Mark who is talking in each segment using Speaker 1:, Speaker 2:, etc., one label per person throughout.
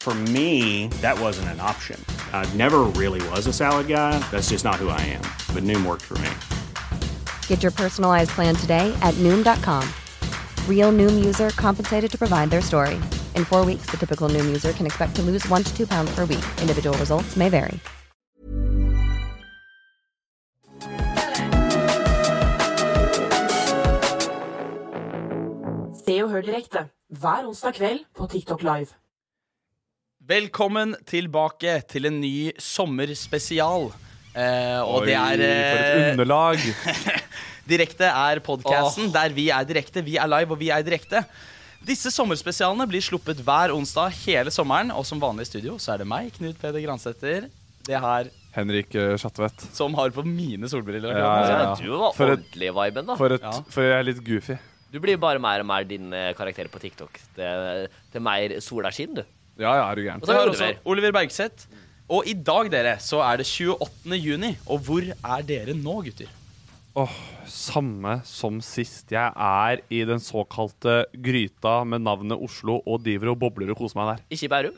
Speaker 1: For me, that wasn't an option. I never really was a salad guy. That's just not who I am. But Noom worked for me.
Speaker 2: Get your personalized plan today at Noom.com. Real Noom user compensated to provide their story. In four weeks, the typical Noom user can expect to lose one to two pounds per week. Individual results may vary.
Speaker 3: Se og hør direkte hver onsdag kveld på TikTok Live.
Speaker 4: Velkommen tilbake til en ny sommerspesial. Eh, og det er
Speaker 5: For
Speaker 4: eh,
Speaker 5: et underlag.
Speaker 4: Direkte er podcasten der vi er direkte. Vi er live, og vi er direkte. Disse sommerspesialene blir sluppet hver onsdag hele sommeren. Og som vanlig i studio så er det meg, Knut Peder Gransæter. Det her
Speaker 5: Henrik eh, Schatvedt.
Speaker 4: som har på mine solbriller.
Speaker 5: Ja, ja, ja.
Speaker 6: Du var
Speaker 5: For et-
Speaker 6: ordentlig viben, da.
Speaker 5: For, et,
Speaker 4: Ja.
Speaker 5: for jeg er litt goofy.
Speaker 6: Du blir bare mer og mer din eh, karakter på TikTok. Det, til mer sola skinner, du.
Speaker 5: Ja, ja, altså, er du gæren.
Speaker 6: Og så
Speaker 4: Det
Speaker 6: har
Speaker 4: var
Speaker 6: vi
Speaker 4: også
Speaker 6: Oliver.
Speaker 4: Oliver Bergseth. Og i dag dere, så er det 28. juni. Og hvor er dere nå, gutter?
Speaker 5: Åh, samme som sist. Jeg er i den såkalte gryta med navnet Oslo og driver og bobler og koser meg der.
Speaker 6: Ikke i Bærum.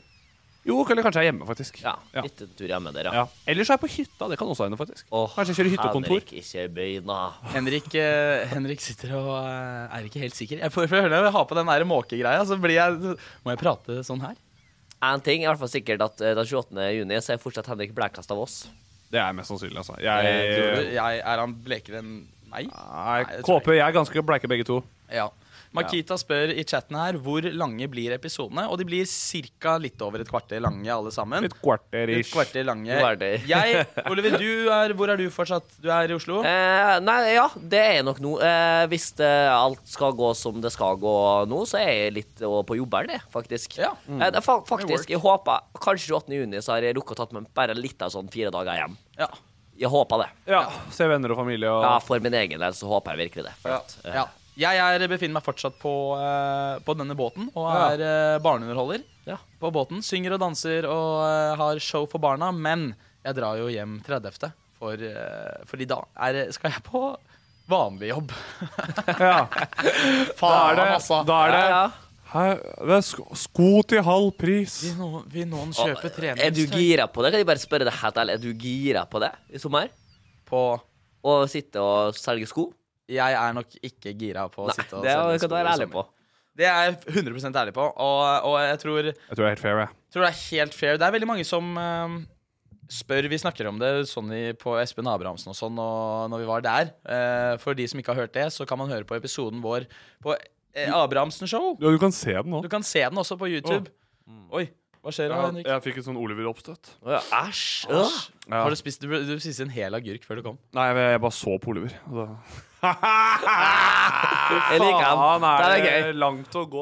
Speaker 5: Jo, eller kanskje jeg er hjemme, faktisk.
Speaker 6: Ja,
Speaker 5: Ja.
Speaker 6: Litt tur hjemme der, ja.
Speaker 5: Ja. Ellers er jeg på hytta. Det kan også hende, faktisk.
Speaker 6: Åh,
Speaker 5: Kanskje jeg kjører hyttekontor.
Speaker 6: Henrik, ikke begynn, da.
Speaker 4: Henrik, eh, Henrik sitter og eh, er ikke helt sikker. Jeg får, får høre når jeg har på den der måkegreia, så blir jeg Må jeg prate sånn her?
Speaker 6: En ting er i hvert fall sikkert at eh, den 28. juni så er fortsatt Henrik blekast av oss.
Speaker 5: Det er mest sannsynlig, altså.
Speaker 4: Eh,
Speaker 6: eh,
Speaker 4: Tror du?
Speaker 5: Jeg,
Speaker 4: Jeg, er han blekere enn meg?
Speaker 5: jeg
Speaker 4: det tror jeg
Speaker 5: KP, jeg er ganske bleike begge to.
Speaker 4: Ja. Makita spør i chatten her hvor lange blir episodene. Og de blir ca. litt over et kvarter lange, alle sammen.
Speaker 5: Et kvarter
Speaker 4: Et
Speaker 5: ish.
Speaker 4: kvarter lange.
Speaker 6: Kvarter.
Speaker 4: Jeg, Oliver, du er, hvor er du fortsatt? Du er i Oslo?
Speaker 6: Eh, nei, ja, det er jeg nok nå. Eh, hvis det, alt skal gå som det skal gå nå, så er jeg litt eh, på jobberen, jeg, faktisk.
Speaker 4: Ja.
Speaker 6: Eh, det er fa faktisk, jeg håper Kanskje 28. juni så har jeg rukket å tatt meg bare litt av sånn fire dager hjem.
Speaker 4: Ja.
Speaker 6: Jeg håper det.
Speaker 5: Ja. Se venner og familie og
Speaker 6: Ja, for min egen del så håper jeg virkelig det. For
Speaker 4: ja.
Speaker 6: at, eh,
Speaker 4: ja. Jeg er, befinner meg fortsatt på, eh, på denne båten og
Speaker 5: Ja.
Speaker 4: er eh, barneunderholder.
Speaker 6: Ja.
Speaker 4: På båten, Synger og danser og eh, har show for barna. Men jeg drar jo hjem 30. For, eh, fordi da er, skal jeg på vanlig jobb.
Speaker 5: Ja. Da er det, da er det
Speaker 6: ja, ja.
Speaker 5: Hæ? Det er sko, sko til halv pris.
Speaker 4: Vil noen, vil noen
Speaker 6: Og,
Speaker 4: kjøpe treningstøy?
Speaker 6: Er du gira på det? Kan jeg bare spørre deg helt ærlig, er du gira på det i sommer?
Speaker 4: på
Speaker 6: Å sitte og selge sko?
Speaker 4: Jeg er nok ikke gira på å
Speaker 6: Nei,
Speaker 4: sitte og
Speaker 6: det kan
Speaker 4: selge
Speaker 6: du
Speaker 4: sko i
Speaker 6: være ærlig
Speaker 4: sommer.
Speaker 6: på.
Speaker 4: Det er jeg 100 ærlig på, og, og jeg tror,
Speaker 5: Jeg tror det er helt fair, jeg.
Speaker 4: tror det er helt fair. Det er veldig mange som eh, spør Vi snakker om det sånn i, på Espen Abrahamsen og sånn og når vi var der. Eh, for de som ikke har hørt det, så kan man høre på episoden vår på eh, Abrahamsen Show.
Speaker 5: Ja, du kan se den nå.
Speaker 4: Du kan se den også på YouTube. Oi, hva skjer da, Henrik?
Speaker 5: jeg fikk et sånn Oliver-oppstøt.
Speaker 6: Å, ja, Æsj. Øh.
Speaker 5: Ja.
Speaker 4: Har du, spist, du, du spiste en hel agurk før du kom.
Speaker 5: Nei, jeg, jeg bare så på Oliver. og da-
Speaker 6: Jeg liker
Speaker 5: Faen,
Speaker 6: den.
Speaker 5: er
Speaker 6: Den
Speaker 5: det,
Speaker 6: er gøy.
Speaker 5: langt å gå?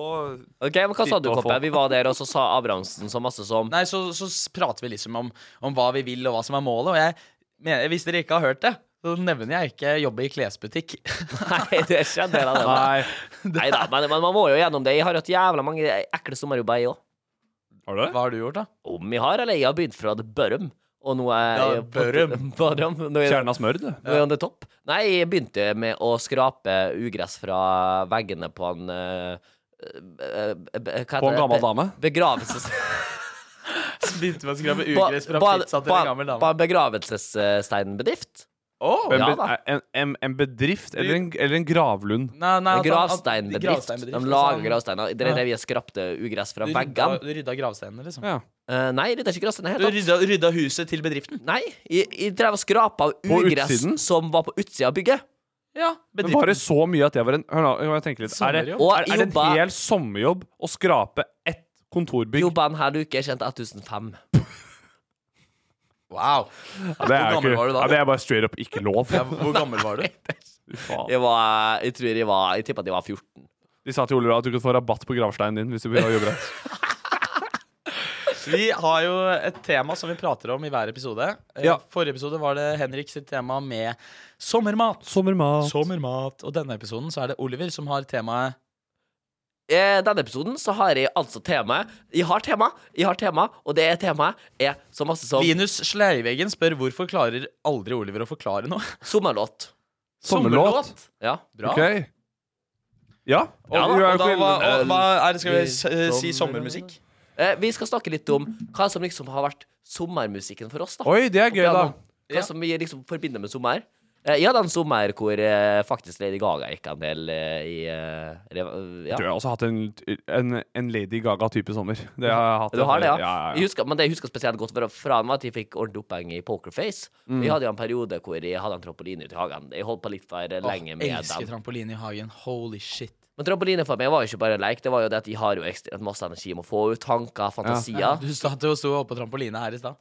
Speaker 6: Ok, men Hva sa
Speaker 5: Sitte
Speaker 6: du,
Speaker 5: og
Speaker 6: Koppe?
Speaker 5: få.
Speaker 6: Vi var der, og så sa Abrahamsen så masse som
Speaker 4: Nei, så, så s- prater vi liksom om, om hva vi vil, og hva som er målet. Og jeg mener, hvis dere ikke har hørt det, så nevner jeg ikke jobbe i klesbutikk.
Speaker 6: Nei, det er ikke en del av det. da.
Speaker 5: Nei.
Speaker 6: Neida, men, men man må jo gjennom det. Jeg har hatt jævla mange ekle sommerjobber, jeg òg.
Speaker 5: Har du det?
Speaker 4: Hva har du gjort, da?
Speaker 6: Om jeg har, eller jeg har begynt fra det Børum. Og nå er
Speaker 4: Ja,
Speaker 6: jeg
Speaker 4: Børum.
Speaker 6: Børum. Nå er,
Speaker 5: Kjerna smør, du.
Speaker 6: nå er det topp. Nei, jeg begynte med å skrape ugress fra veggene på en eh, eh, eh, Hva heter
Speaker 5: På en
Speaker 6: det?
Speaker 5: gammel dame.
Speaker 6: Be- Begravelses...
Speaker 4: begynte med å skrape
Speaker 6: På,
Speaker 4: ugress fra
Speaker 6: på, en-
Speaker 4: pizza til
Speaker 6: på,
Speaker 4: en
Speaker 6: en-
Speaker 4: gammel
Speaker 6: på
Speaker 4: dame.
Speaker 6: en begravelsessteinbedrift.
Speaker 4: Åh!
Speaker 6: Ja,
Speaker 5: En,
Speaker 6: da.
Speaker 5: be- en, en, en bedrift eller en, eller en gravlund?
Speaker 4: Nei, nei,
Speaker 6: En
Speaker 4: at han- at-
Speaker 6: gravsteinbedrift.
Speaker 4: gravsteinbedrift,
Speaker 6: De
Speaker 4: altså,
Speaker 6: lager
Speaker 4: han-
Speaker 6: gravsteiner. Det er det vi skrapte ugress fra
Speaker 4: Du
Speaker 6: veggene.
Speaker 4: rydda, du rydda gravsteinene, liksom.
Speaker 5: Ja.
Speaker 6: Eh, nei, det er ikke gravsteiner i
Speaker 4: Du
Speaker 6: det hele tatt.
Speaker 4: rydda, rydda huset til bedriften.
Speaker 6: Nei, jeg, jeg drev og skrapa av
Speaker 5: På
Speaker 6: ugress
Speaker 5: utsiden?
Speaker 6: som var på utsida av bygget.
Speaker 4: Ja,
Speaker 5: Men
Speaker 4: bedriften.
Speaker 5: var det så mye at det var en Hør nå, jeg tenker litt. Er det,
Speaker 4: Sommerjobb.
Speaker 6: Og
Speaker 5: er, er det en
Speaker 6: jobba-
Speaker 5: hel sommerjobb å skrape ett kontorbygg?
Speaker 6: Jobba en hel uke, tjente 1500.
Speaker 4: Wow.
Speaker 5: Ja,
Speaker 4: Hvor
Speaker 5: det, er jo
Speaker 4: gammel
Speaker 5: ikke,
Speaker 4: var du da?
Speaker 5: ja, det er bare straight up ikke lov.
Speaker 4: Ja, hvor gammel var du?
Speaker 5: Fy faen.
Speaker 6: Jeg, var, jeg tror jeg var Jeg tippa at jeg var 14.
Speaker 5: De sa til Ole at du kunne få rabatt på gravsteinen din hvis du begynner å jobbe rett.
Speaker 4: Vi har jo et tema som vi prater om i hver episode. Eh,
Speaker 5: Ja.
Speaker 4: Forrige episode var det Henrik sitt tema med sommermat.
Speaker 5: Sommermat.
Speaker 4: Sommermat. Og denne episoden så er det Oliver som har temaet
Speaker 6: I denne episoden så har jeg altså temaet Jeg har tema, jeg har tema, og det temaet er så masse som
Speaker 4: Linus Sleiveggen spør hvorfor klarer aldri Oliver å forklare noe.
Speaker 6: sommerlåt.
Speaker 5: Sommerlåt.
Speaker 6: Ja.
Speaker 4: Bra.
Speaker 5: Ok. Ja.
Speaker 4: Og,
Speaker 5: Ja,
Speaker 4: og,
Speaker 5: vi er jo
Speaker 4: da,
Speaker 5: ikke-
Speaker 4: hva, og hva er det, skal vi s- eh, si sommermusikk?
Speaker 6: Eh, vi skal snakke litt om hva som liksom har vært sommermusikken for oss. da
Speaker 5: Oi, det er gøy, da.
Speaker 6: Hva som vi liksom forbinder med sommer. Eh, jeg hadde en sommer hvor eh, faktisk Lady Gaga gikk en del eh, i eh, rev- ja.
Speaker 5: Du har også hatt en, en, en Lady Gaga-type sommer. Det har jeg hatt.
Speaker 6: Du har det, ja?
Speaker 5: ja,
Speaker 6: Jeg husker, men det jeg husker spesielt godt fra- fra han var at jeg fikk ordentlig oppheng i Pokerface.
Speaker 5: Mm.
Speaker 6: Vi hadde jo en periode hvor jeg hadde en trampoline ute i hagen. Jeg holdt på litt for
Speaker 4: Åh,
Speaker 6: lenge med
Speaker 4: elsker
Speaker 6: den.
Speaker 4: trampoline i hagen. Holy shit.
Speaker 6: Men trampoline for meg var jo ikke bare leik. Det var jo det at jeg har jo ekstremt masse energi jeg må få ut. Tanker, fantasier. Ja.
Speaker 4: Du sto du sto oppe på trampoline her i stad.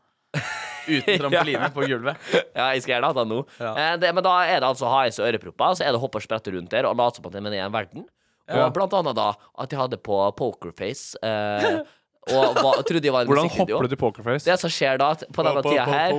Speaker 4: Uten trampoline på gulvet.
Speaker 6: jeg skal gjerne ha den nå.
Speaker 4: Ja.
Speaker 6: Eh, det, men da er det altså å ha i seg ørepropper, så er det å hoppe og sprette rundt der og late som at jeg mener jeg er en verden. Og blant annet da at jeg hadde på Pokerface. Eh, og var, trodde jeg var en
Speaker 5: Hvordan
Speaker 6: musikkvideo.
Speaker 5: hopper du til pokerface?
Speaker 6: Det som skjer da, at på denne tida her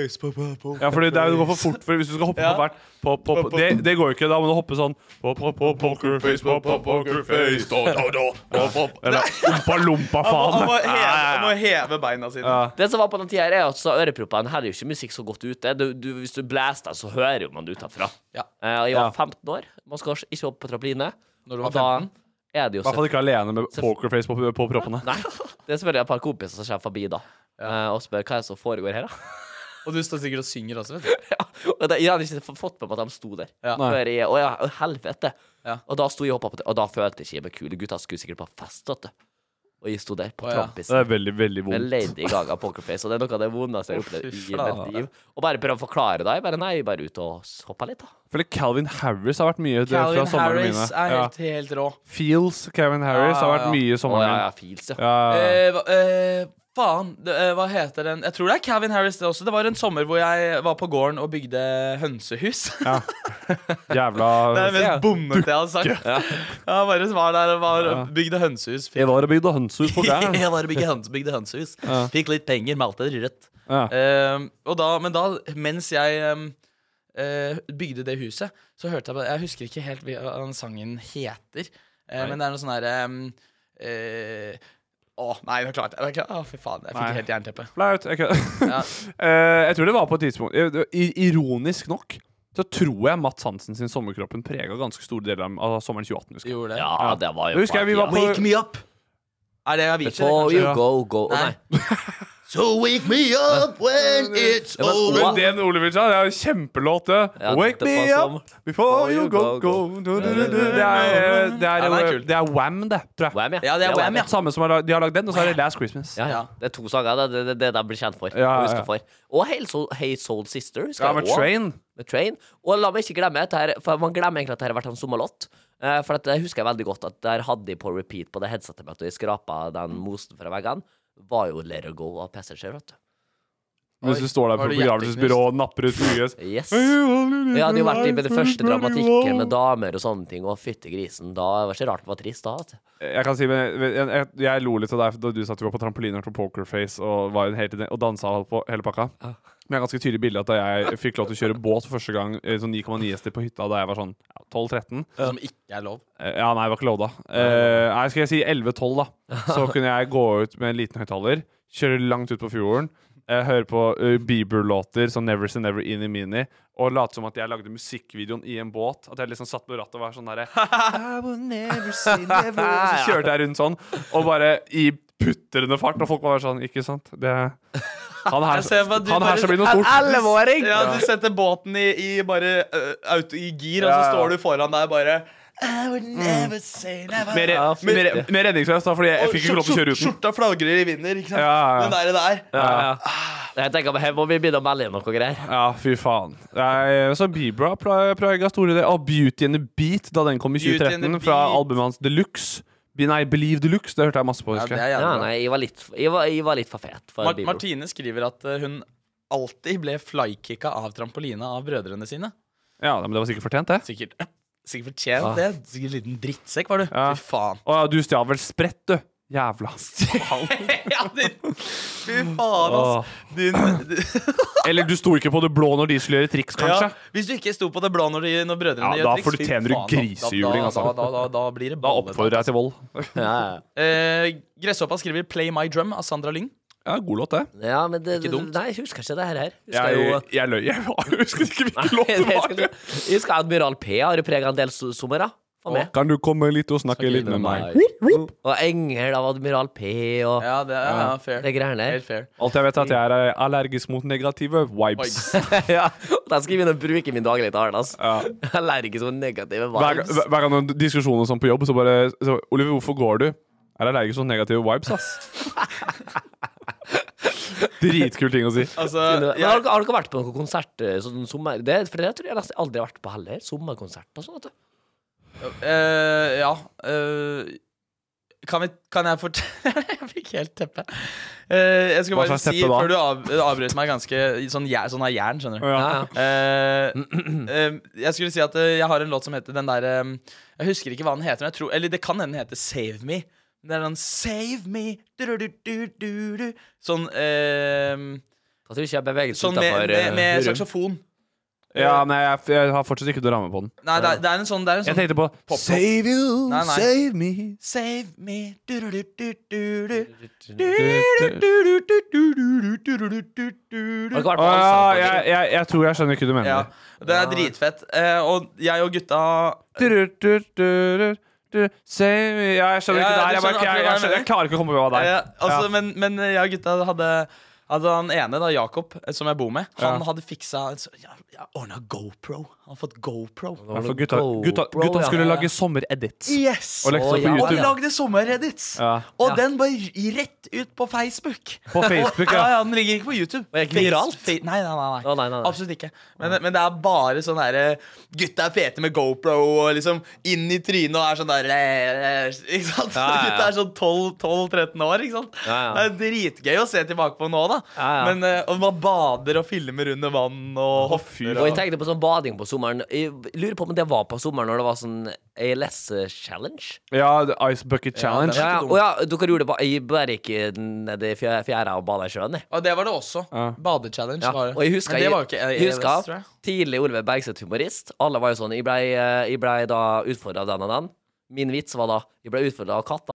Speaker 5: Ja, fordi det er jo det går for fort. For hvis du skal hoppe på hvert på, på, på, det, det går jo ikke. Da må du hoppe sånn på, på, på, Pokerface, på, på pokerface da, da, da, på, på. Eller ompa lompa,
Speaker 4: Han
Speaker 5: faen.
Speaker 4: må heve, han må heve beina sine.
Speaker 6: Det som var på den tida her, er at så øreproppene her er jo ikke musikk så godt ute. Du, du, hvis du blæster, så hører jo man det utafra.
Speaker 4: Ja.
Speaker 6: Eh, og jeg var 15 år. Man skal ikke hoppe på trampoline.
Speaker 4: Når du var
Speaker 6: Og da
Speaker 4: 15?
Speaker 6: er det jo
Speaker 5: I hvert fall ikke alene med pokerface på, på proppene.
Speaker 6: Nei. Det er selvfølgelig et par kompiser som kommer forbi da eh, og spør hva er det som foregår her, da.
Speaker 4: Og du står sikkert og synger også, vet du.
Speaker 6: ja. Og da- jeg hadde ikke f- fått med meg at de sto der.
Speaker 4: Ja.
Speaker 6: Før jeg, å ja, å, helvete.
Speaker 4: Ja.
Speaker 6: Og da sto jeg og hoppa på det, og da følte jeg ikke jeg meg kul. Gutta skulle sikkert på fest, vet du. Og jeg sto der på
Speaker 4: Å, ja.
Speaker 6: trampisen.
Speaker 5: Det er veldig, veldig
Speaker 6: med
Speaker 5: vondt.
Speaker 6: Lady Gaga pokerface, og det er noe av det vondeste jeg har opplevd
Speaker 4: fy
Speaker 6: i mitt liv. Og bare prøve å forklare det. Jeg bare nei, jeg er bare ute og hoppa litt, da.
Speaker 5: Fordi Calvin Harris har vært mye det, fra
Speaker 4: Calvin
Speaker 5: somrene
Speaker 4: Harris
Speaker 5: mine.
Speaker 4: er
Speaker 5: Ja.
Speaker 4: helt, helt rå.
Speaker 5: Feels Calvin Harris har vært
Speaker 4: Ja, ja,
Speaker 5: mye i
Speaker 6: Å
Speaker 5: sommeren
Speaker 6: ja,
Speaker 5: min.
Speaker 6: ja, feels, ja.
Speaker 5: Ja, ja, ja.
Speaker 4: Eh, hva- eh, faen, det, eh, hva heter den Jeg tror det er Calvin Harris, det også. Det var en sommer hvor jeg var på gården og bygde hønsehus.
Speaker 5: Jævla
Speaker 4: Det er det mest bommete jeg har sagt. Ja. Jeg bare var der og var, og bygde hønsehus. Fikk,
Speaker 5: Jeg var og bygde hønsehus på gang.
Speaker 4: jeg var og bygde, høns, bygde hønsehus.
Speaker 5: Ja.
Speaker 4: Fikk litt penger, malte det rødt.
Speaker 5: Ja.
Speaker 4: Ehm, og da, men da, mens jeg ehm, eh, bygde det huset, så hørte jeg på Jeg husker ikke helt hva den sangen heter, eh, men det er noe sånn herre Å, nei, nå klarte jeg det. Å, fy faen. Jeg fikk
Speaker 5: Nei.
Speaker 4: helt jernteppe.
Speaker 5: Flaut. Jeg kødder.
Speaker 4: Ja.
Speaker 5: Eh, jeg tror det var på et tidspunkt eh, i- Ironisk nok så tror jeg Matt Hansen sin sommerkroppen prega ganske store deler av- av sommeren 2018. Husker jeg.
Speaker 4: Gjorde det.
Speaker 6: Ja, det var jo
Speaker 5: Husker jeg vi var på-
Speaker 4: Wake me up! Er det Avicii? det,
Speaker 6: Before
Speaker 4: kanskje?
Speaker 6: you go, go Å,
Speaker 4: Nei.
Speaker 6: Nei.
Speaker 4: So wake me up when it's
Speaker 6: Det var et
Speaker 5: Men
Speaker 6: Å.
Speaker 5: det den Oliver sa, det er jo kjempelåt, det.
Speaker 6: Ja,
Speaker 5: Wake
Speaker 6: det
Speaker 5: me
Speaker 6: var
Speaker 5: up before you go, go Du, du, du, du. Det er, eh, det er,
Speaker 4: Ja, den er
Speaker 5: eh,
Speaker 4: kul.
Speaker 5: det er Wham, det, tror jeg.
Speaker 6: Wham, ja.
Speaker 4: Ja, det er Wham, ja.
Speaker 5: Samme som har lag- de har lagd den, og så er det Last Christmas.
Speaker 6: Ja, ja.
Speaker 4: Ja.
Speaker 6: Det er to sanger. Det er det, det de blir kjent for.
Speaker 5: ja,
Speaker 6: og husker
Speaker 5: ja.
Speaker 6: for. Og Hail Soul, hey Soul Sister. husker
Speaker 5: Ja,
Speaker 6: jeg
Speaker 5: med
Speaker 6: også.
Speaker 5: Train.
Speaker 6: Med Train. Og la meg ikke glemme dette her, for man glemmer egentlig at dette har vært en sommerlåt. Eh, for at det husker jeg veldig godt at der hadde de på repeat på det headsetet mitt, og jeg skrapa den
Speaker 4: Mm.
Speaker 6: mosen fra veggene, var jo Let It Go av Passenger, vet du.
Speaker 5: Mens du står der på
Speaker 4: Var du
Speaker 5: begravelsesbyrå og napper ut ugress.
Speaker 6: Yes. Vi hadde jo vært i med det første dramatikken med damer og sånne ting, og fytti grisen, da var det ikke rart det var trist da. Vet du.
Speaker 5: Jeg kan si, men jeg, jeg, jeg lo litt av deg da du sa at du var på trampoline og hørte på Pokerface og, var en helt, og dansa og holdt på hele pakka. Men jeg har ganske tydelig bilde av at da jeg fikk lov til å kjøre båt for første gang eh, sånn 9,9 hester på hytta da jeg var sånn ja, 12-13.
Speaker 4: Som ikke er lov.
Speaker 5: Eh, Ja, nei, det var ikke lov da. Eh, nei, skal jeg si 11-12, da. Så kunne jeg gå ut med en liten høyttaler, kjøre langt ut på fjorden, eh, høre på eh, Bieber-låter som Never Say Never Eeny Meeny, og late som at jeg lagde musikkvideoen i en båt. At jeg liksom satt på rattet og var sånn derre I will never say never Og så kjørte jeg rundt sånn, og bare i putrende fart, og folk var sånn Ikke sant? Det, han her,
Speaker 4: Jeg ser for meg at du
Speaker 5: han her
Speaker 4: bare-
Speaker 5: skal bli noe stort.
Speaker 6: Elleveåring!
Speaker 4: Ja, du setter båten i, i bare ø, auto, i gir, og
Speaker 5: Ja, Mm.
Speaker 4: så
Speaker 5: ja.
Speaker 4: står du foran der bare I would never say never.
Speaker 5: Mer,
Speaker 6: Ja,
Speaker 5: mer,
Speaker 6: fytti.
Speaker 5: mer redningsvest, da, fordi jeg,
Speaker 4: Og
Speaker 5: jeg fikk ikke lov til
Speaker 4: skjort-
Speaker 5: å kjøre uten.
Speaker 4: Skjorta flagrer i vinden, ikke sant?
Speaker 5: Ja, ja, ja.
Speaker 4: Den der, der.
Speaker 6: Ja, ja. Ah, Jeg tenker, Her må vi begynne å melde inn noe greier.
Speaker 5: Ja, fy faen. Nei, så Bibra prega store deler av Beauty and the Beat da den kom i
Speaker 4: Beauty and the
Speaker 5: 2013, fra
Speaker 4: Beat.
Speaker 5: albumet hans Deluxe. Be- Nei, Believe Deluxe. Det hørte jeg masse på.
Speaker 4: Ja, det
Speaker 5: husker jeg.
Speaker 4: er jævlig
Speaker 6: Ja,
Speaker 4: bra.
Speaker 6: nei, jeg var litt, jeg var, jeg var litt for fet for
Speaker 4: Mar
Speaker 6: Bibro.
Speaker 4: Martine skriver at eh, hun alltid ble flykicka av trampolina av brødrene sine.
Speaker 5: Ja, men det var sikkert fortjent, det.
Speaker 4: Sikkert Sikkert fortjent
Speaker 6: Ah.
Speaker 4: det. Sikkert liten drittsekk, var du.
Speaker 5: Ja.
Speaker 4: Fy faen.
Speaker 5: Å ja, du stjal vel sprett, du. Jævla.
Speaker 4: ja, din, fy faen,
Speaker 5: Åh.
Speaker 4: altså. Din,
Speaker 5: Eller du sto ikke på det blå når de skulle gjøre triks,
Speaker 4: ja,
Speaker 5: kanskje.
Speaker 4: hvis du ikke sto på det blå når, de, når brødrene
Speaker 5: Ja,
Speaker 4: gjør
Speaker 5: da
Speaker 4: triks,
Speaker 5: får du-
Speaker 4: fy
Speaker 5: tjener du
Speaker 4: faen, da-
Speaker 5: grisehjuling,
Speaker 4: da,
Speaker 5: altså.
Speaker 4: da, da, da, da blir det
Speaker 5: Da
Speaker 4: ballet.
Speaker 5: oppfordrer jeg til vold.
Speaker 6: Ja,
Speaker 4: Eh, Gresshoppa skriver 'Play My Drum' av Sandra Lyng.
Speaker 5: Ja, god låt, det.
Speaker 6: ja. ja, men det,
Speaker 4: Ikke dumt.
Speaker 6: Nei, jeg husker ikke det her. her. Husker
Speaker 5: Jeg,
Speaker 6: jo-
Speaker 5: jeg løy. Jeg husker ikke hvilken
Speaker 6: Nei,
Speaker 5: låt
Speaker 6: det
Speaker 5: det
Speaker 6: husker
Speaker 5: var.
Speaker 6: jeg ikke. Jeg husker Admiral P har jo prega en del so- sommere. For meg.
Speaker 5: Kan du komme litt og snakke litt med meg?
Speaker 6: Og Engel av Admiral P og
Speaker 4: Ja, det er ja, fair.
Speaker 6: de greiene der.
Speaker 4: Helt fair.
Speaker 5: Alt jeg vet, er at jeg er allergisk mot negative vibes.
Speaker 6: ja, den skal jeg begynne å bruke i min daglige tale. Altså.
Speaker 5: Ja.
Speaker 6: Jeg er Allergisk mot negative
Speaker 5: Hver,
Speaker 6: vibes.
Speaker 5: hver- hver gang det er diskusjoner sånn på jobb, så bare så, Oliver, hvorfor går du? Jeg er allergisk mot negative vibes, ass. Dritkul ting å si.
Speaker 4: Altså,
Speaker 6: Men
Speaker 4: jeg,
Speaker 6: har, dere- har dere vært på noen konsert eh, sånn sommer... Det, for det tror jeg nesten aldri har vært på heller. Sommerkonsert og sånn. vet du.
Speaker 4: Eh, ja eh, kan, vi, kan jeg fort... jeg fikk helt teppe. Eh, jeg skulle
Speaker 5: Hva
Speaker 4: bare
Speaker 5: slags
Speaker 4: si,
Speaker 5: teppe da?
Speaker 4: før du av, avbrøt meg ganske Sånn, jær- sånn av jern, skjønner du.
Speaker 5: Ja.
Speaker 4: Eh, eh, jeg skulle si at eh, jeg har en låt som heter den der eh, Jeg husker ikke hva den heter, men jeg tror Eller det kan hende den heter Save Me. Det er den Save Me du-du-du-du-du. Sånn eh,
Speaker 6: Da tror jeg ikke jeg beveger
Speaker 4: Sånn med, med, med saksofon.
Speaker 5: ja, nei, jeg, jeg har fortsatt ikke noe ramme på den.
Speaker 4: Nei, det er, det er en sånn, det er en
Speaker 5: Jeg
Speaker 4: sånn
Speaker 5: tenkte på Save you,
Speaker 4: Nei, nei.
Speaker 5: save me
Speaker 4: Save me du-du-du-du-du.
Speaker 6: Har dere vært
Speaker 5: Å
Speaker 6: på
Speaker 5: ja,
Speaker 6: allsang?
Speaker 5: jeg, jeg, jeg tror jeg skjønner ikke hva du mener.
Speaker 4: Ja, det er dritfett. Eh, og jeg og gutta
Speaker 5: Durur, durur, durur, durur, Save me Ja, jeg skjønner
Speaker 4: Ja,
Speaker 5: ikke det
Speaker 4: ja,
Speaker 5: her.
Speaker 4: du skjønner
Speaker 5: Jeg, bare- jeg, jeg,
Speaker 4: akkurat hva jeg
Speaker 5: skjønner- jeg klarer ikke å komme på hva det
Speaker 4: eh,
Speaker 5: er.
Speaker 4: altså,
Speaker 5: Ja.
Speaker 4: Men, men jeg og gutta hadde hadde han ene, da, Jakob, eh, som jeg bor med, han
Speaker 5: Ja.
Speaker 4: hadde fiksa en så- ja, ja, Ordna GoPro. Han har fått GoPro.
Speaker 5: Ja, for gutta,
Speaker 6: GoPro,
Speaker 5: gutta, gutta
Speaker 6: ja.
Speaker 5: skulle lage sommeredit.
Speaker 4: Yes!
Speaker 5: Og legge seg
Speaker 6: Å, ja.
Speaker 5: på
Speaker 4: Og
Speaker 5: YouTube.
Speaker 4: vi lagde sommerredits!
Speaker 5: Ja.
Speaker 4: Og den bare r- rett ut på Facebook.
Speaker 5: På Facebook, ja.
Speaker 4: Ja, ja, Den ligger ikke på YouTube.
Speaker 6: Og ikke viralt?
Speaker 4: Face- fe- nei, nei, nei, nei.
Speaker 6: Å, nei, nei, nei.
Speaker 4: Absolutt ikke. Men, men det er bare sånn derre Gutta er fete med GoPro og liksom inn i trynet og er sånn der eh, eh, Ikke sant?
Speaker 6: Ja, ja, ja.
Speaker 4: Gutta er sånn 12-13 år, ikke sant?
Speaker 6: Ja, ja.
Speaker 4: Det er dritgøy å se tilbake på nå, da.
Speaker 6: Ja, ja.
Speaker 4: Men, eh, og man bader og filmer under vann og
Speaker 6: Og
Speaker 4: hopper og
Speaker 6: jeg tenkte på sånn bading på sommeren. Jeg lurer på om det var på sommeren når det var sånn ALS-challenge.
Speaker 5: Ja, the Ice Bucket Challenge.
Speaker 6: Ja,
Speaker 4: ikke
Speaker 6: ja.
Speaker 4: dumt.
Speaker 6: Å ja, dere gjorde det på Jeg bare gikk nedi fjæra og bada i sjøen, jeg.
Speaker 4: Og det var det også.
Speaker 5: Ja.
Speaker 4: Badechallenge
Speaker 6: Ja.
Speaker 4: var det.
Speaker 6: Og jeg husker,
Speaker 4: Men det var jo ikke
Speaker 6: jeg,
Speaker 4: AES,
Speaker 6: husker
Speaker 4: tror jeg.
Speaker 6: tidlig Oliver Bergseth humorist. Alle var jo sånn Jeg blei ble da utfordra av den og den. Min vits var da Jeg blei utfordra av katta.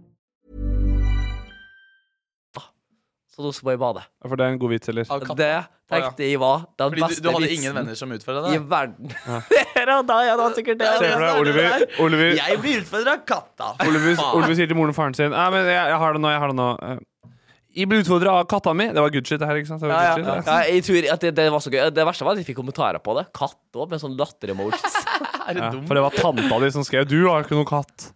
Speaker 6: Så nå må jeg bade.
Speaker 5: For det er en god vits, eller?
Speaker 6: Det tenkte jeg var den
Speaker 4: Fordi du-
Speaker 6: beste
Speaker 4: du hadde
Speaker 6: vitsen
Speaker 4: ingen venner som utfordret deg?
Speaker 6: I verden.
Speaker 5: Ja.
Speaker 6: Ja, da, ja, det var sikkert det.
Speaker 5: Se for deg Oliver, Oliver,
Speaker 4: Jeg blir utfordra av katta.
Speaker 5: Oliver,
Speaker 4: Faen.
Speaker 5: Oliver sier til moren og faren sin Nei, men jeg, jeg har det nå, jeg har det nå. Eh, Jeg ble utfordra av katta mi. Det var good shit, det her. ikke sant? Det var
Speaker 6: Ja,
Speaker 5: good
Speaker 6: ja.
Speaker 5: shit,
Speaker 6: Ja, jeg tror at det, det var så gøy. Det verste var at vi fikk kommentarer på det. Katt òg, med sånn latter-emojis.
Speaker 4: Er du
Speaker 5: Ja,
Speaker 4: dum?
Speaker 5: for det var tanta di som skrev 'Du har ikke noen katt'.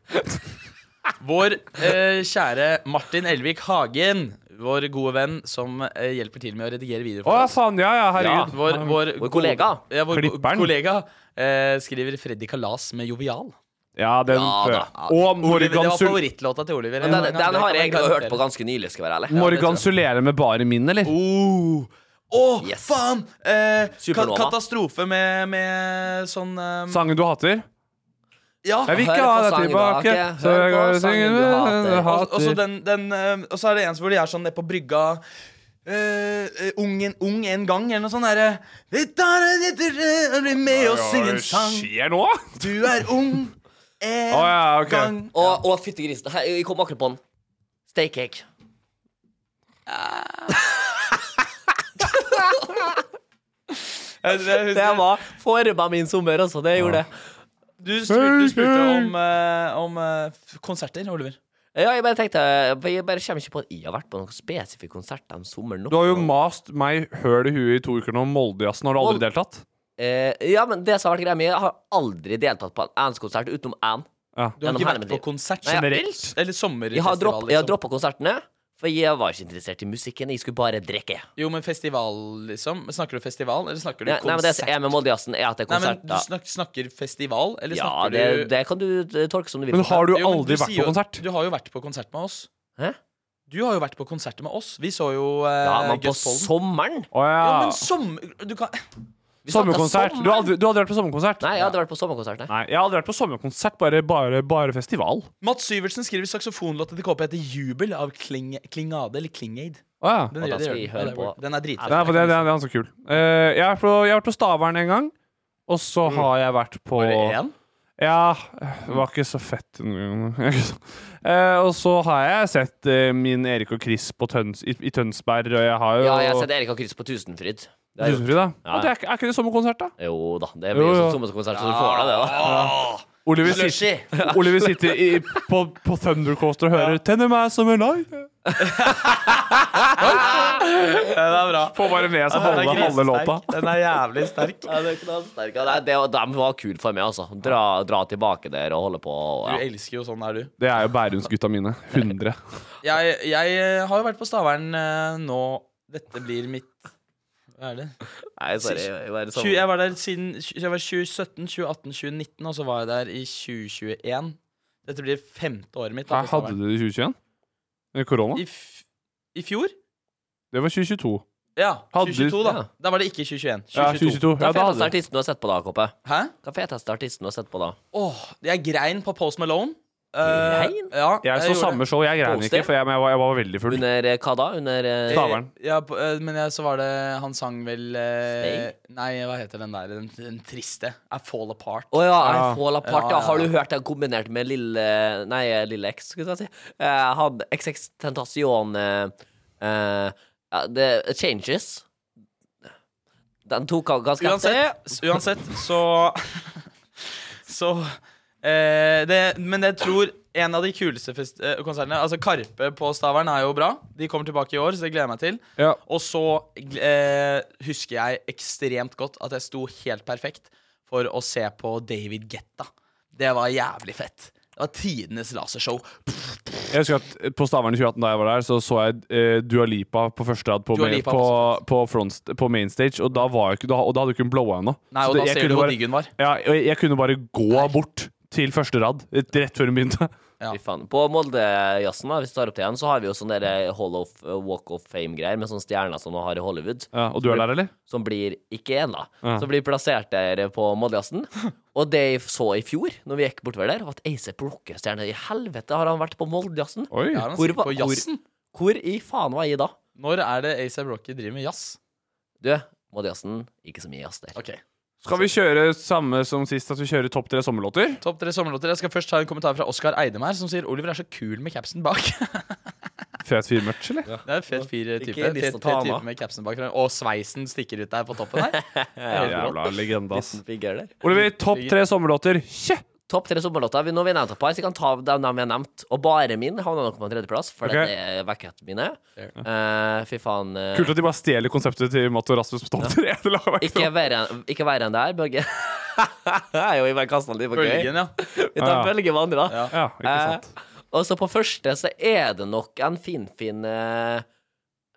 Speaker 4: Vår eh, kjære Martin Elvik Hagen, vår gode venn som eh, hjelper til med å redigere videoer.
Speaker 5: Å ja, faen. Ja, ja,
Speaker 4: Ja,
Speaker 5: herregud.
Speaker 4: vår, vår,
Speaker 6: Vår kollega.
Speaker 4: Ja, vår
Speaker 5: Klipperen.
Speaker 4: kollega eh, skriver 'Freddy Kalas med Jovial'.
Speaker 5: Ja, den
Speaker 6: Ja,
Speaker 5: prøver
Speaker 6: da.
Speaker 5: jeg. Og
Speaker 4: Oliver, det
Speaker 5: Morgan,
Speaker 4: var
Speaker 5: Sul
Speaker 4: favorittlåta til Oliver.
Speaker 6: Den,
Speaker 4: En gang.
Speaker 6: den
Speaker 4: Det
Speaker 6: har
Speaker 4: kan
Speaker 6: jeg
Speaker 4: man
Speaker 6: egentlig hørt
Speaker 4: garantere.
Speaker 6: på ganske nylig, skal jeg være ærlig.
Speaker 5: Morgan Sulere med bare min, eller?
Speaker 4: Oh. Å,
Speaker 6: Yes.
Speaker 4: faen! Eh, ka
Speaker 6: Supernova.
Speaker 4: katastrofe med, med sånn eh,
Speaker 5: Sangen du hater?
Speaker 4: Ja.
Speaker 5: Jeg vil
Speaker 6: hør på
Speaker 5: ikke ha deg
Speaker 6: sangen du
Speaker 5: tilbake,
Speaker 6: hater.
Speaker 5: så
Speaker 6: Hør
Speaker 5: jeg
Speaker 6: på
Speaker 5: går og
Speaker 6: sangen
Speaker 5: synger
Speaker 6: du hater.
Speaker 5: du
Speaker 4: Og og så
Speaker 5: hater.
Speaker 4: den, den eh, Og så er det en som hvor de er sånn nede på brygga eh, eh, ung, en, ung en gang, eller noe sånt derre Vi tar en etter eh, og blir med og synger en sang.
Speaker 5: skjer nå?
Speaker 4: Du er ung en
Speaker 5: Å, ja, ok.
Speaker 4: gang.
Speaker 6: Og, og fytti grisen. Her, Jeg kom akkurat på den. Steakcake.
Speaker 4: Jeg- jeg husker-
Speaker 6: Det var forma min sommer, altså. Det gjorde det.
Speaker 4: Du spurte, du spurte om, eh, om eh, f- konserter, Oliver.
Speaker 6: Ja, jeg bare tenkte Jeg bare kommer ikke på at jeg har vært på noen spesifikk konsert den sommeren. nå.
Speaker 5: Du har jo mast meg høl i huet i to uker nå om Moldejazzen. Har du aldri deltatt?
Speaker 6: Eh, ja, men det som har vært greia mi, jeg har aldri deltatt på en Ants-konsert utenom én.
Speaker 5: Ja.
Speaker 4: Du har
Speaker 6: Gjennom
Speaker 4: ikke
Speaker 6: hele
Speaker 4: vært
Speaker 6: mitt
Speaker 4: på
Speaker 6: liv.
Speaker 4: konsert
Speaker 6: Nei, jeg-
Speaker 4: generelt? Eller sommerfestival?
Speaker 6: Jeg har, dropp, jeg har
Speaker 4: liksom.
Speaker 6: droppa konsertene, for jeg var ikke interessert i musikken. Jeg skulle bare drikke.
Speaker 4: Jo, men festival, liksom. Snakker du festival, eller snakker du
Speaker 6: Nei, nei, men det
Speaker 4: konsert?
Speaker 6: som er med Moldejazzen, er at det er
Speaker 4: Nei, men
Speaker 6: konsert.
Speaker 4: du snak snakker festival, eller
Speaker 6: ja,
Speaker 4: snakker
Speaker 6: det,
Speaker 4: du
Speaker 6: det kan du eh, tolke som du vil.
Speaker 5: Men har du
Speaker 4: Jo, men
Speaker 5: aldri vært
Speaker 4: sier
Speaker 5: på
Speaker 4: jo-
Speaker 5: konsert?
Speaker 4: Du har jo vært på konsert med oss.
Speaker 6: Hæ?
Speaker 4: Du har jo vært på konserter med oss. Vi så jo uh,
Speaker 6: Ja, men på
Speaker 4: Gus Polden.
Speaker 6: sommeren?
Speaker 5: Å ja.
Speaker 4: Ja, men som Du kan
Speaker 6: Vi snakket
Speaker 5: Sommerkonsert. Du har aldri, du har aldri vært på sommerkonsert?
Speaker 6: Nei, jeg hadde vært på sommerkonsert. Nei.
Speaker 5: Nei, jeg har aldri vært på sommerkonsert, bare, bare, bare festival.
Speaker 4: Mats Syvertsen skriver saksofonlåta til KP heter 'Jubel' av Kling, Klingade eller Klingaid.
Speaker 5: Å ja.
Speaker 4: Den,
Speaker 6: Og da
Speaker 4: det gjør
Speaker 6: skal vi
Speaker 4: den.
Speaker 6: høre
Speaker 4: Ja, det er
Speaker 6: på-
Speaker 4: den. Den er dritfett.
Speaker 5: Nei, for det, det, er- det er så kul. Eh, jeg, har vært på, jeg har vært på Stavern en gang, og så
Speaker 6: Mm.
Speaker 5: har jeg vært på
Speaker 4: Var det én?
Speaker 5: Ja, det var ikke så fett. Eh, og så har jeg sett eh, min Erik og Chris på Tøns, i, i Tønsberg, og jeg har jo
Speaker 6: Ja, jeg har sett Erik og Chris på Tusenfryd. Det er jo-
Speaker 5: Tusenfryd, da.
Speaker 6: Ja.
Speaker 5: Og det er, ikke- er ikke det sommerkonsert, da?
Speaker 6: Jo da, det blir jo
Speaker 5: Jo, jo.
Speaker 6: sånn sommerkonsert, så du får deg det, da.
Speaker 4: Ah,
Speaker 5: Oliver sitter, Oliver sitter i, på, på Thunder Coaster og hører 'Tenner meg som en light'.
Speaker 4: Ja, det er bra.
Speaker 5: Får bare med seg
Speaker 4: Den er
Speaker 5: halve, halve
Speaker 4: grisesterk.
Speaker 5: låta.
Speaker 4: Den er jævlig sterk.
Speaker 6: Ja, det er knallsterk. Ja, nei, det, de var kul for meg, altså. Dra, dra tilbake der og holde på. og-
Speaker 4: Du
Speaker 6: Ja.
Speaker 4: elsker jo sånn er du.
Speaker 5: Det er jo Bærumsgutta mine. 100.
Speaker 4: Jeg, jeg eh, har jo vært på Stavern eh, nå Dette blir mitt Hva er det?
Speaker 6: Nei, sorry. Jeg var,
Speaker 4: Tju- jeg var der siden tju- jeg var 2017, 2018, 2019, og så var jeg der i 2021. Dette blir femte året mitt. da,
Speaker 5: Her
Speaker 4: på
Speaker 5: hadde
Speaker 4: Stavern.
Speaker 5: du det i 2021? Eh, Korona?
Speaker 4: I, f I fjor?
Speaker 5: Det var 2022.
Speaker 4: Ja.
Speaker 5: Hadde du-
Speaker 4: 2022, da.
Speaker 6: ja.
Speaker 4: Da var det ikke 2021.
Speaker 5: Ja,
Speaker 4: 2022.
Speaker 5: 2022.
Speaker 6: Hva
Speaker 5: Ja,
Speaker 6: er
Speaker 5: da
Speaker 6: feteste
Speaker 5: hadde du.
Speaker 6: artisten du har sett på, da, Koppe?
Speaker 4: Hæ?
Speaker 6: Hva er feteste artisten du har sett på, da?
Speaker 4: Åh, jeg grein på Post Malone. Eh,
Speaker 6: Grein?
Speaker 4: ja,
Speaker 5: Jeg så
Speaker 4: gjorde
Speaker 5: samme
Speaker 4: det.
Speaker 5: show, jeg grein
Speaker 6: Poster?
Speaker 5: ikke, for jeg, men jeg, var, jeg var veldig full.
Speaker 6: Under eh, hva da? Under eh,
Speaker 5: Stavern.
Speaker 4: Ja, på- eh, men jeg, så var det Han sang vel eh,
Speaker 6: Stay?
Speaker 4: Nei, hva heter den der? Den, den triste. I Fall Apart.
Speaker 6: Å ja, I
Speaker 5: Ja.
Speaker 6: Fall Apart. Ja,
Speaker 4: Ja, ja,
Speaker 6: Har du
Speaker 4: ja.
Speaker 6: hørt den kombinert med Lille Nei, Lille X, skulle jeg si. Eh, han XX Tentacion eh, eh, ja, det- Changes. Den tok han ganske heftig.
Speaker 4: Uansett, s- uansett så Så eh, det, Men jeg tror en av de kuleste fest, eh, konsertene Altså Karpe på Stavern er jo bra. De kommer tilbake i år, så det gleder jeg meg til.
Speaker 5: Ja.
Speaker 4: Og så eh, husker jeg ekstremt godt at jeg sto helt perfekt for å se på David Getta. Det var jævlig fett. Det var tidenes lasershow.
Speaker 5: Jeg husker at på Stavern i 2018, da jeg var der, så så jeg eh, Dua Lipa på første rad på,
Speaker 4: Dua
Speaker 5: main-
Speaker 4: Lipa
Speaker 5: på,
Speaker 4: på
Speaker 5: på, front, på main stage, og da, var jeg, ikke- da, og da hadde hun ikke blowa ennå.
Speaker 4: Nei, og
Speaker 5: Så det-
Speaker 4: da
Speaker 5: jeg
Speaker 4: ser du
Speaker 5: kunne
Speaker 4: hvor
Speaker 5: bare-
Speaker 4: digg hun var.
Speaker 5: Ja, og jeg kunne bare gå bort til første rad rett før hun begynte.
Speaker 4: Ja.
Speaker 6: Fy faen. På Moldejazzen, da, hvis vi tar opp til igjen, så har vi jo sånn der Hall of Walk of Fame-greier med sånne stjerner som man har i Hollywood.
Speaker 5: Ja, og du er der, eller?
Speaker 6: som blir ikke én, da,
Speaker 5: Ja.
Speaker 6: som blir plassert der på Moldejazzen. Og det jeg så i fjor, når vi gikk bortover der, var at Acep Rockestjerne I helvete, har han vært på Moldejazzen?
Speaker 5: Oi.
Speaker 4: Ja, han
Speaker 6: Hvor
Speaker 4: sitter
Speaker 6: var-
Speaker 4: på jazzen.
Speaker 6: Hvor i faen var jeg da?
Speaker 4: Når er det ASAP Rocky driver med jazz?
Speaker 6: Du, Madiassen, ikke så mye jazz der.
Speaker 4: Ok.
Speaker 5: Skal vi kjøre samme som sist, at vi kjører topp tre sommerlåter?
Speaker 4: Topp tre sommerlåter. Jeg skal først ta en kommentar fra Oskar Eidem her, som sier Oliver er så kul med capsen bak.
Speaker 5: Fet fyrmerch, eller?
Speaker 4: Det er en fet
Speaker 6: Ikke
Speaker 4: fire-type.
Speaker 6: lyst til
Speaker 4: Fet
Speaker 6: å ta han
Speaker 4: type
Speaker 6: av.
Speaker 4: med capsen bak. Og sveisen stikker ut der på toppen her.
Speaker 5: Jævla legende, ass.
Speaker 6: Liten figur der.
Speaker 5: Oliver, topp tre sommerlåter. Kjø!
Speaker 6: Topp tre sommerlåter. Vi- Nå har vi nevnt et par, så jeg kan ta dem de vi har nevnt. Og bare min havna nok på en tredjeplass, for
Speaker 5: Ok.
Speaker 6: det er vekkhetene mine. Eh, fy faen. eh,
Speaker 5: Kult at de bare stjeler konseptet til Matt og Rasmus på topp tre. Det la meg
Speaker 6: Ikke verre enn- ikke verre enn det her, Børge. jeg er jo i hver kassen litt på gøy.
Speaker 4: Bølgen, ja.
Speaker 6: Vi tar
Speaker 5: Ah, Ja.
Speaker 6: bølge med andre.
Speaker 4: Ja.
Speaker 5: Ja, ikke sant.
Speaker 6: Eh, og så på første så er det nok en finfin eh,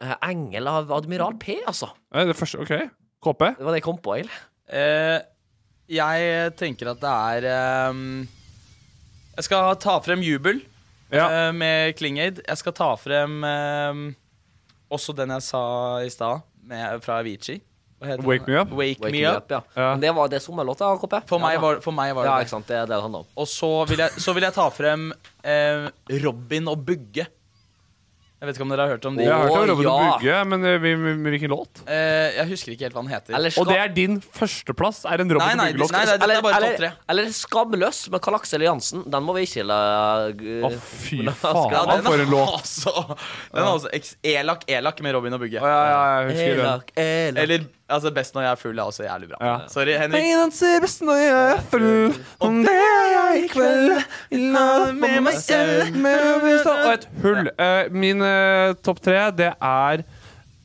Speaker 6: eh, engel av Admiral P, altså.
Speaker 5: Nei, Det første, OK. KP.
Speaker 6: Det var det jeg kom på, Eil.
Speaker 4: Eh, jeg tenker at det er ehm, Jeg skal ta frem Jubel
Speaker 5: Ja.
Speaker 4: eh, med Klingade. Jeg skal ta frem ehm, også den jeg sa i stad, med- fra Avicii. Hva heter
Speaker 5: Wake
Speaker 4: den?
Speaker 5: Me Up?
Speaker 4: Wake,
Speaker 6: Wake
Speaker 4: me up.
Speaker 6: ja.
Speaker 5: Ja.
Speaker 6: Men det var det sommerlåta, KP.
Speaker 4: For, meg
Speaker 6: ja,
Speaker 4: var, for meg var det
Speaker 6: Ja,
Speaker 4: det.
Speaker 6: ikke sant. Det er det det handler om.
Speaker 4: Og så vil jeg, så vil jeg ta frem eh, Robin og Bugge. Jeg vet ikke om dere har hørt om de.
Speaker 5: Jeg har hørt om
Speaker 6: Å,
Speaker 5: Robin
Speaker 6: ja.
Speaker 5: og Bugge, men eh, vi- vi- vi- hvilken låt?
Speaker 4: Eh, jeg husker ikke helt hva han heter.
Speaker 6: Eller
Speaker 5: Og
Speaker 6: Skam-
Speaker 5: det er din førsteplass? Er en Robin
Speaker 4: Nei,
Speaker 5: og
Speaker 4: nei,
Speaker 5: Bugge-låt?
Speaker 4: nei, nei, dette er bare topp tre.
Speaker 6: eller, eller Skamløs med Karl Aksel Jansen. Den må vi ikke la eh,
Speaker 5: Å, fy
Speaker 6: la-
Speaker 5: faen,
Speaker 6: Ja,
Speaker 5: hva
Speaker 6: den-
Speaker 5: for en låt!
Speaker 4: Altså, den er altså eks- Elak Elak med Robin og Bugge.
Speaker 5: Ja, ja, ja, jeg husker den.
Speaker 6: Elak, elak.
Speaker 4: Eller altså, Best når jeg er full er også jævlig bra.
Speaker 5: Ja.
Speaker 4: Sorry, Henrik.
Speaker 5: Ingen ser best når jeg er full, om det er jeg i kveld. I lag med meg selv. med meg selv. Og et hull. Eh, Min eh, topp tre, det er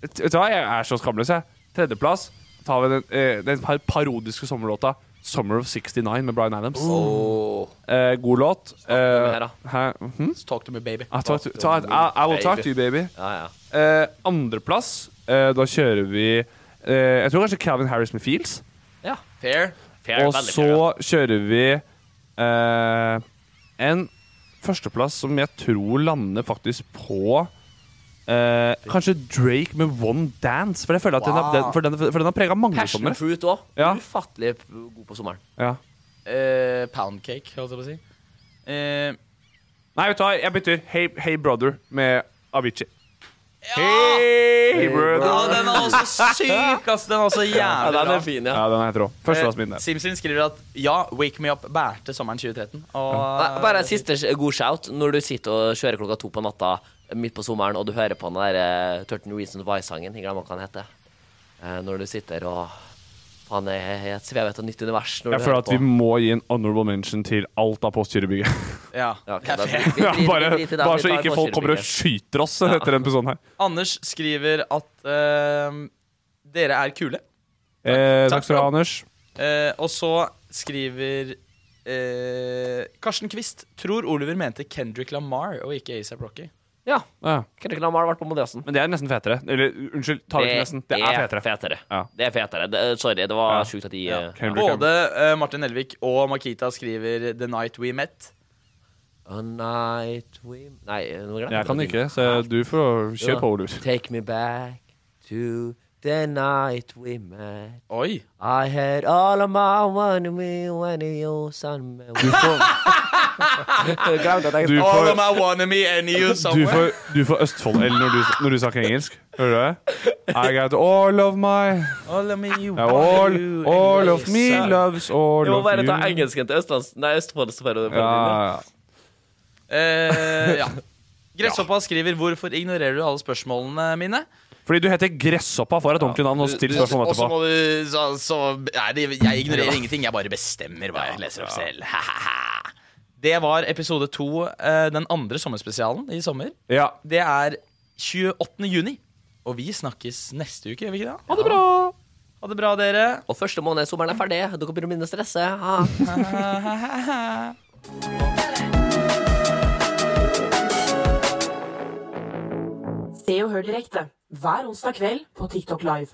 Speaker 5: Vet du hva, jeg er så skamløs, jeg. Tredjeplass tar vi den, eh, den par parodiske sommerlåta 'Summer of 69' med Bryan Adams. Eh, god låt.
Speaker 6: med
Speaker 5: Eh,
Speaker 6: her, da.
Speaker 5: hæ? Mhm.
Speaker 4: Talk to me, baby.
Speaker 5: I, talk to, talk, I, I will talk to you, baby.
Speaker 6: Ja, ja.
Speaker 5: Eh, Andreplass, eh, da kjører vi eh, Jeg tror kanskje Calvin Harris med Feels.
Speaker 6: ja.
Speaker 4: Fair.
Speaker 6: Fair,
Speaker 5: Og
Speaker 6: veldig
Speaker 5: så
Speaker 6: fair, ja.
Speaker 5: kjører vi eh, en førsteplass som jeg tror lander faktisk på eh, Kanskje Drake med One Dance, for jeg føler at den, har- den, for den, for den har prega mange
Speaker 6: Passion
Speaker 5: somre.
Speaker 6: Fruit òg.
Speaker 5: Ja.
Speaker 6: Ufattelig p- god på sommeren.
Speaker 5: Ja.
Speaker 4: Eh, Poundcake, holdt jeg på å si. Eh,
Speaker 5: Nei, vet du hva, jeg bytter Hey, hey Brother med Avicii. Hey, brother.
Speaker 4: ja, den er også syk, ass. Den er også
Speaker 6: Ja,
Speaker 4: jævlig
Speaker 6: den
Speaker 4: bra.
Speaker 6: er fin,
Speaker 5: Ja,
Speaker 6: ja.
Speaker 5: den er helt rå. Førsteplass min,
Speaker 4: Eh,
Speaker 5: det.
Speaker 4: Simsim skriver at ja, Wake Me Up bærte sommeren 2013. Og,
Speaker 6: Nei, Bare en siste sh- god shout. Når du sitter og kjører klokka to på natta midt på sommeren, og du hører på den der eh, 13 Reasons Why-sangen, jeg glemmer hva den heter, Eh, når du sitter og Faen, jeg er i et svevet og nytt univers. Når
Speaker 5: Jeg
Speaker 6: du
Speaker 5: føler
Speaker 6: hører
Speaker 5: at vi
Speaker 6: på.
Speaker 5: må gi en honorable mention til alt av postgirobygget.
Speaker 4: Ja,
Speaker 6: Ja, ok,
Speaker 4: det er
Speaker 6: da-
Speaker 4: fair.
Speaker 6: vi- vi- vi-
Speaker 5: Ja,
Speaker 6: vi-
Speaker 5: bare,
Speaker 6: vi- vi- vi-
Speaker 5: bare
Speaker 6: vi
Speaker 5: så
Speaker 6: tar
Speaker 5: ikke folk kommer og
Speaker 6: Porsche-bygget.
Speaker 5: skyter oss etter denne episoden her.
Speaker 4: Anders skriver at eh, dere er kule.
Speaker 5: Eh,
Speaker 4: Takk
Speaker 5: takk skal du
Speaker 4: for
Speaker 5: ha, Anders.
Speaker 4: Eh, og så skriver eh, Karsten Kvist tror Oliver mente Kendrick Lamar og ikke ASAP Rocky.
Speaker 6: Ja.
Speaker 5: Ja.
Speaker 6: Kendrick Lamar har vært på Modiassen.
Speaker 5: Men det er nesten fetere. Eller unnskyld, tar ikke nesten. Det er fetere. Ja.
Speaker 6: Det er fetere. Det, sorry, det var
Speaker 5: Ja.
Speaker 6: sjukt at de
Speaker 4: Ja.
Speaker 6: eh,
Speaker 5: Kendrick
Speaker 4: Både eh, Martin Elvik og Makita skriver 'The Night We Met'.
Speaker 6: A night we Nei, nå glemte
Speaker 5: Jeg kan
Speaker 6: det.
Speaker 5: ikke, så du får kjøre på, Oliver.
Speaker 6: Take me back to the night we met.
Speaker 4: Oi!
Speaker 6: I had all of my one we when you son
Speaker 5: Du får, du
Speaker 4: All of
Speaker 5: får,
Speaker 4: my wannabe and you
Speaker 5: du
Speaker 4: somewhere.
Speaker 5: får, du får Østfold-L når, du- når du snakker engelsk. Hører du det? I got all of my
Speaker 4: All of me, you
Speaker 5: yeah, all,
Speaker 4: you
Speaker 5: all
Speaker 4: and
Speaker 5: of
Speaker 4: you
Speaker 5: me
Speaker 4: son-
Speaker 5: loves all
Speaker 6: må
Speaker 5: of
Speaker 6: bare ta
Speaker 5: you.
Speaker 6: engelsken til Østlands... Nei, Østfold. så bare-
Speaker 5: Ja, ja, ja.
Speaker 4: Eh, ja. Gresshoppa skriver 'Hvorfor ignorerer du alle spørsmålene mine?'
Speaker 5: Fordi du heter Gresshoppa for et ordentlig navn, og still spørsmål
Speaker 4: Og så
Speaker 5: etterpå.
Speaker 4: må du så, så, nei, det, Jeg ignorerer ingenting, jeg bare bestemmer hva jeg leser opp selv. Det var episode to, eh, den andre sommerspesialen i sommer.
Speaker 5: Ja.
Speaker 4: Det er 28. juni, og vi snakkes neste uke, gjør vi ikke det? Ha det bra! Ha det bra, dere.
Speaker 6: Og første måned sommeren er ferdig. Dere begynner å begynne å stresse. Ah.
Speaker 3: Se og hør direkte hver onsdag kveld på TikTok Live.